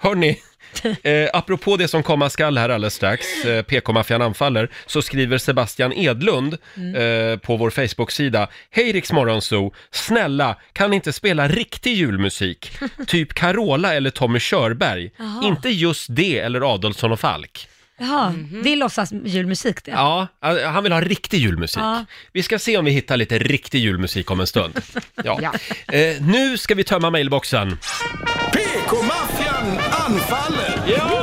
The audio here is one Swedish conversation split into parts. Hörni, eh, apropå det som komma skall här alldeles strax, eh, PK-maffian anfaller, så skriver Sebastian Edlund Mm. eh, på vår Facebook-sida. Hej Rix Morgonzoo, snälla kan ni inte spela riktig julmusik? Typ Carola eller Tommy Körberg. Jaha. Inte just det eller Adolfsson och Falk. Jaha, det är låtsas julmusik det. Ja, eh, han vill ha riktig julmusik. Ja. Vi ska se om vi hittar lite riktig julmusik om en stund. Ja. Ja. Eh, nu ska vi tömma mailboxen. PK-maffian anfaller! Ja.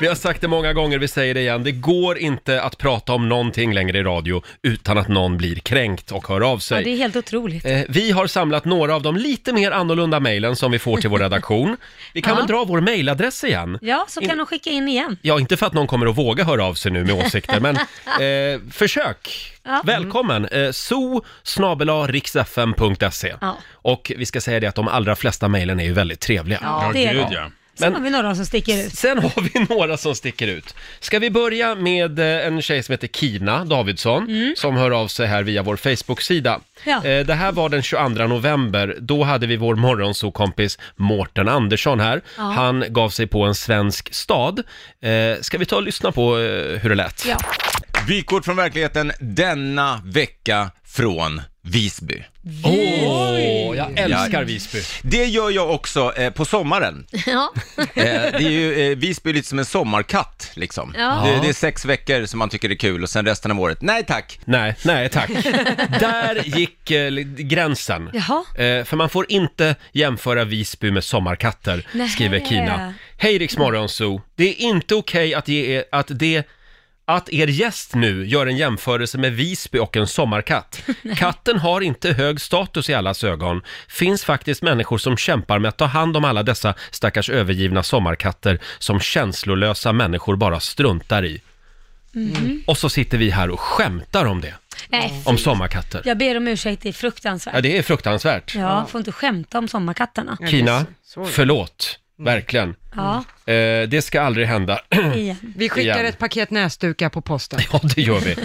Vi har sagt det många gånger, vi säger det igen. Det går inte att prata om någonting längre i radio utan att någon blir kränkt och hör av Ja, det är sig. helt otroligt. Eh, Vi har samlat några av de lite mer annorlunda mejlen som vi får till vår redaktion. Vi kan Ja. väl dra vår mejladress igen? Ja, så kan de skicka in igen. Ja, inte för att någon kommer att våga höra av sig nu med åsikter, men eh, försök! Ja. Mm. Välkommen! Eh, so Ja. Och vi ska säga det att de allra flesta mejlen är ju väldigt trevliga. Ja, det är gud det. ja. Sen Men- har vi några som sticker ut. Sen har vi några som sticker ut. Ska vi börja med eh, en tjej som heter Kina Davidsson som hör av sig här via vår Facebook-sida. Mm. Ja. Eh, Det här var den 22 november. Då hade vi vår morgonsokompis Mårten Andersson här. Ja. Han gav sig på en svensk stad. Eh, Ska vi ta och lyssna på eh, hur det lät? Ja. Vykort från verkligheten denna vecka från Visby. Åh, jag älskar Ja. Visby. Det gör jag också eh, på sommaren. Ja. Eh, det är ju, eh, Visby är lite som en sommarkatt liksom. Ja. Det, det är sex veckor som man tycker är kul och sen resten av året, nej tack. Nej, nej tack. Där gick eh, li- gränsen. Jaha. Eh, för man får inte jämföra Visby med sommarkatter, Nej. skriver Kina. Hej Rix Morgonzoo. Det är inte okej att, ge er, att, det, att er gäst nu gör en jämförelse med Visby och en sommarkatt. Katten har inte hög status i allas ögon. Finns faktiskt människor som kämpar med att ta hand om alla dessa stackars övergivna sommarkatter som känslolösa människor bara struntar i. Och så sitter vi här och skämtar om det, Nej, om sommarkatter. jag ber om ursäkt, det är Ja, fruktansvärt. det är fruktansvärt. Ja, får inte skämta om sommarkatterna. Kina, Så är det. Mm. förlåt. Verkligen. Ja, Eh, det ska aldrig hända. igen. Vi skickar Igen. ett paket näsdukar på posten. ja, det gör vi.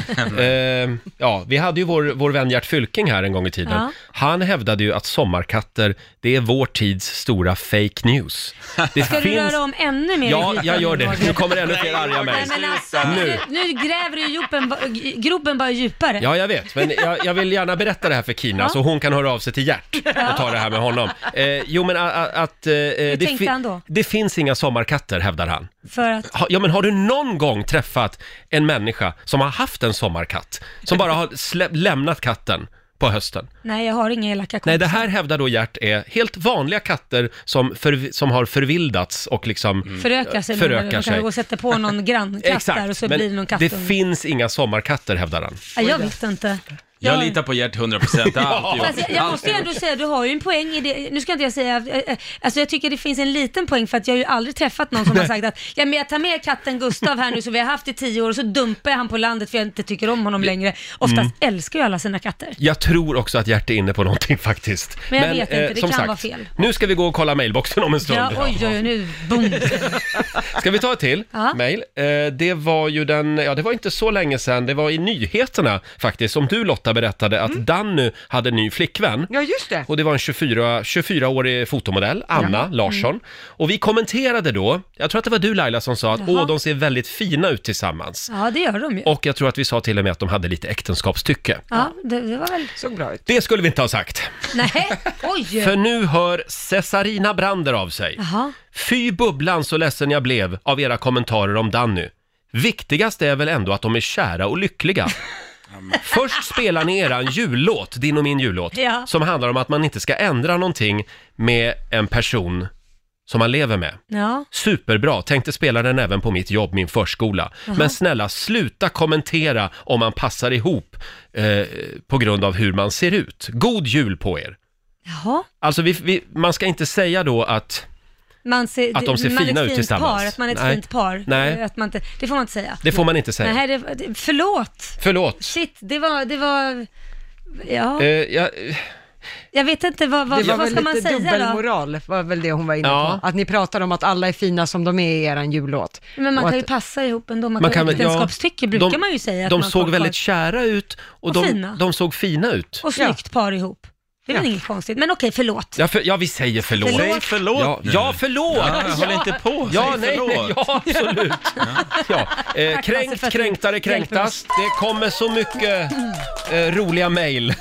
Eh, ja, vi hade ju vår, vår vän Gert Fylking här en gång i tiden. Ja. Han hävdade ju att sommarkatter, det är vår tids stora fake news. Det Ska du röra om ännu mer i Ja, skiten, jag gör det. Roger? Nu kommer ännu fler arga Nej, mejl. men alltså, Nu. nu. nu gräver du gropen, ba- gropen bara djupare. Ja, jag vet. Men jag, jag vill gärna berätta det här för Kina så hon kan höra av sig till Gert och ta det här med honom. Eh, jo, men a, a, att... Eh, det, tänkte han då? det finns inga sommarkatter, hävdar han. För att, Ha- Ja men har du någon gång träffat en människa som har haft en sommarkatt? Som bara har slä- lämnat katten på hösten? nej jag har inga elaka kompisar. Nej, det här hävdar då Gert är helt vanliga katter som, förv- som har förvildats och liksom... Förökar sig. Förökar menar du? Man sig. kan gå och sätta på någon grannkatt där och så blir det någon det kattunge. finns inga sommarkatter hävdar han. Ja, jag vet inte. Jag Ja. litar på Gert 100%. Det har alltid Fast gjort. jag, jag måste ju ändå säga, du har ju en poäng i det. Nu ska inte jag säga, eh, eh, alltså jag tycker det finns en liten poäng för att jag har ju aldrig träffat någon som har sagt att ja, men jag tar med katten Gustav här nu som vi har haft i tio år och så dumpar jag han på landet för jag inte tycker om honom längre. Oftast Mm. älskar ju alla sina katter. Jag tror också att Gert är inne på någonting faktiskt. eh, Men jag vet inte, det som kan sagt, vara fel. Nu ska vi gå och kolla mailboxen om en stund. Ja, oj, oj, oj, nu, boom. Ska vi ta ett till Ja. mejl? Eh, det var ju den, ja det var inte så länge sedan, det var i nyheterna faktiskt, som du Lotta berättade att Mm. Danny hade en ny flickvän. Ja, just det. Och det var en 24, 24-årig fotomodell, Anna Mm. Larsson. Och vi kommenterade då, jag tror att det var du Laila som sa att Jaha. åh, de ser väldigt fina ut tillsammans. Ja, det gör de ju. Och jag tror att vi sa till och med att de hade lite äktenskapstycke. Ja, det, det var väl... Såg bra ut. Det skulle vi inte ha sagt. Nej, oj! För nu hör Cesarina Brander av sig. Jaha. Fy bubblan så ledsen jag blev av era kommentarer om Danny. Viktigast är väl ändå att de är kära och lyckliga. Först spelar ni eran jullåt, din och min jullåt, Ja. som handlar om att man inte ska ändra någonting med en person som man lever med. Ja. Superbra, tänkte spela den även på mitt jobb, min förskola. Men snälla, sluta kommentera om man passar ihop eh, på grund av hur man ser ut. God jul på er! Jaha. Alltså, vi, vi, man ska inte säga då att Man ser, Att de ser man är fina ett ut fint tillsammans. Par, att man är ett Nej. fint par. Nej. Att man inte, det får man inte säga. Det får man inte säga. Nej, det, det- förlåt. Förlåt. Shit, det var, det var, ja, Eh, jag, jag vet inte vad, Det vad, var vad väl ska man lite säga då? dubbelmoral, var väl det hon var inne Ja. på. Att ni pratar om att alla är fina som de är i eran jullåt. Men man Och kan ju att- passa ihop ändå, man, man kan kan, väl- ja, äktenskapstycke brukar de- man ju säga. att De man såg folk väldigt har- kära ut och, Och de, fina. de såg fina ut. Och snyggt par ihop. Det är väl inget konstigt. Men okej, förlåt. Ja, för, ja vi säger förlåt. Förlåt. Säg förlåt Ja, nu. ja förlåt! Ja, håll inte på, Ja, säg nej, nej, förlåt. ja absolut. Ja. Eh, Tack, Lasse, för kränkt, kränktare, att du hjälper mig. kränktast. Det kommer så mycket eh, roliga mejl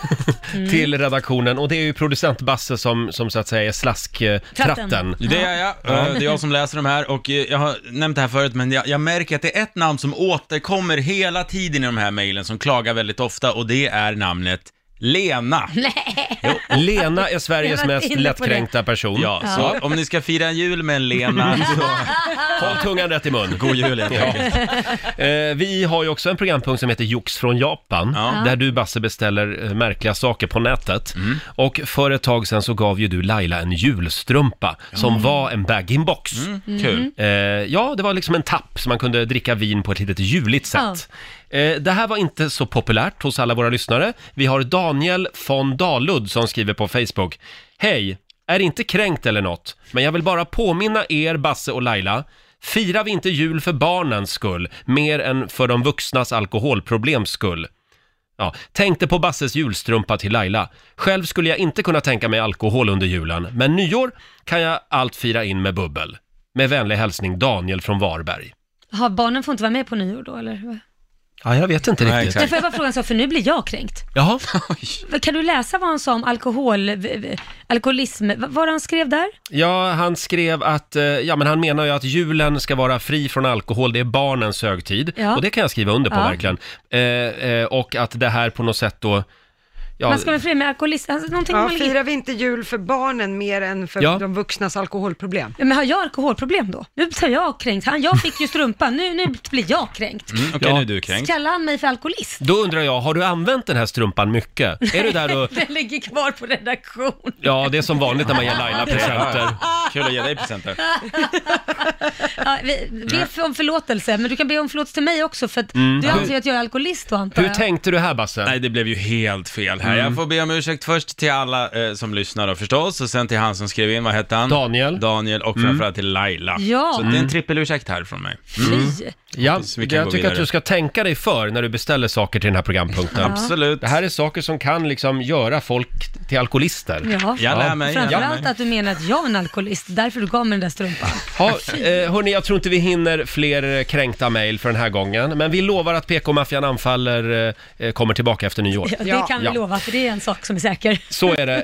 Mm. till redaktionen och det är ju producent Basse som, som så att säga är slasktratten. Tratten. Det är jag, ja. Eh, det är jag som läser de här och eh, jag har nämnt det här förut men jag, jag märker att det är ett namn som återkommer hela tiden i de här mejlen som klagar väldigt ofta och det är namnet Lena. Lena är Jag Sveriges har varit mest inne på det. lättkränkta person. Ja, så om ni ska fira jul med en Lena så Håll tungan rätt i mun. god jul helt Ja. enkelt. Eh, vi har ju också en programpunkt som heter Jox från Japan, Ja. Mm. där du Basse beställer eh, märkliga saker på nätet. Och för ett tag sedan så gav ju du Laila en julstrumpa som var en bag-in-box. Mm. Kul. Eh, ja, det var liksom en tapp som man kunde dricka vin på ett litet juligt sätt. Eh, det här var inte så populärt hos alla våra lyssnare. Vi har Daniel von Dalud som skriver på Facebook. Hej! Är inte kränkt eller något, men jag vill bara påminna er, Basse och Laila. Firar vi inte jul för barnens skull, mer än för de vuxnas alkoholproblems skull? Ja, tänkte på Basses julstrumpa till Laila. Själv skulle jag inte kunna tänka mig alkohol under julen, men nyår kan jag allt fira in med bubbel. Med vänlig hälsning Daniel från Varberg. Har barnen får inte vara med på nyår då eller? Ja, jag vet inte Nej, riktigt. exakt. Jag får jag bara fråga en sak, för nu blir jag kränkt. Jaha. Kan du läsa vad han sa om alkohol, v- v- alkoholism, vad var det han skrev där? Ja, han skrev att, eh, ja men han menar ju att julen ska vara fri från alkohol, det är barnens högtid. Ja. Och det kan jag skriva under på Ja. verkligen. Eh, eh, och att det här på något sätt då... Ja, Man ska vara fri med alkoholism, alltså, någonting Ja, man ligger... firar vi inte jul för barnen mer än för Ja. de vuxnas alkoholproblem? Ja, Men har jag alkoholproblem då? Nu blir jag kränkt. Han, jag fick ju strumpan, nu, nu blir jag kränkt. Okej, Ja. nu är du Mm, kränkt. Kallar han mig för alkoholist? Då undrar jag, har du använt den här strumpan mycket? Är du där och, Den ligger kvar på redaktion. ja det är som vanligt när man ger Laila presenter. Kul att ge dig presenter. Ja, vi- be för- om förlåtelse, men du kan be om förlåtelse till mig också för att Mm. du anser att jag är alkoholist då antar Hur jag. tänkte du här Basse? Nej, det blev ju helt fel här. Mm. Jag får be om ursäkt först till alla eh, som lyssnar då förstås, och sen till han som skrev in, vad hette han? Daniel. Mm. Daniel, och framförallt till Laila. Ja. Så det är en trippelursäkt här från mig. Mm. Fy. Ja, Precis, vi kan jag gå tycker vidare. att du ska tänka dig för när du beställer saker till den här programpunkten. Absolut. Det här är saker som kan liksom göra folk till alkoholister. Ja. Jag lär mig. jag lär mig. Framförallt att du menar att jag är en alkoholist, därför du gav mig den där strumpan. Ha, eh, hörni, jag tror inte vi hinner fler eh, kränkta mejl för den här gången, men vi lovar att PK-maffian anfaller eh, eh, kommer tillbaka efter nyår. Ja, det Ja. kan vi Ja. lova, för det är en sak som är säker. Så är det.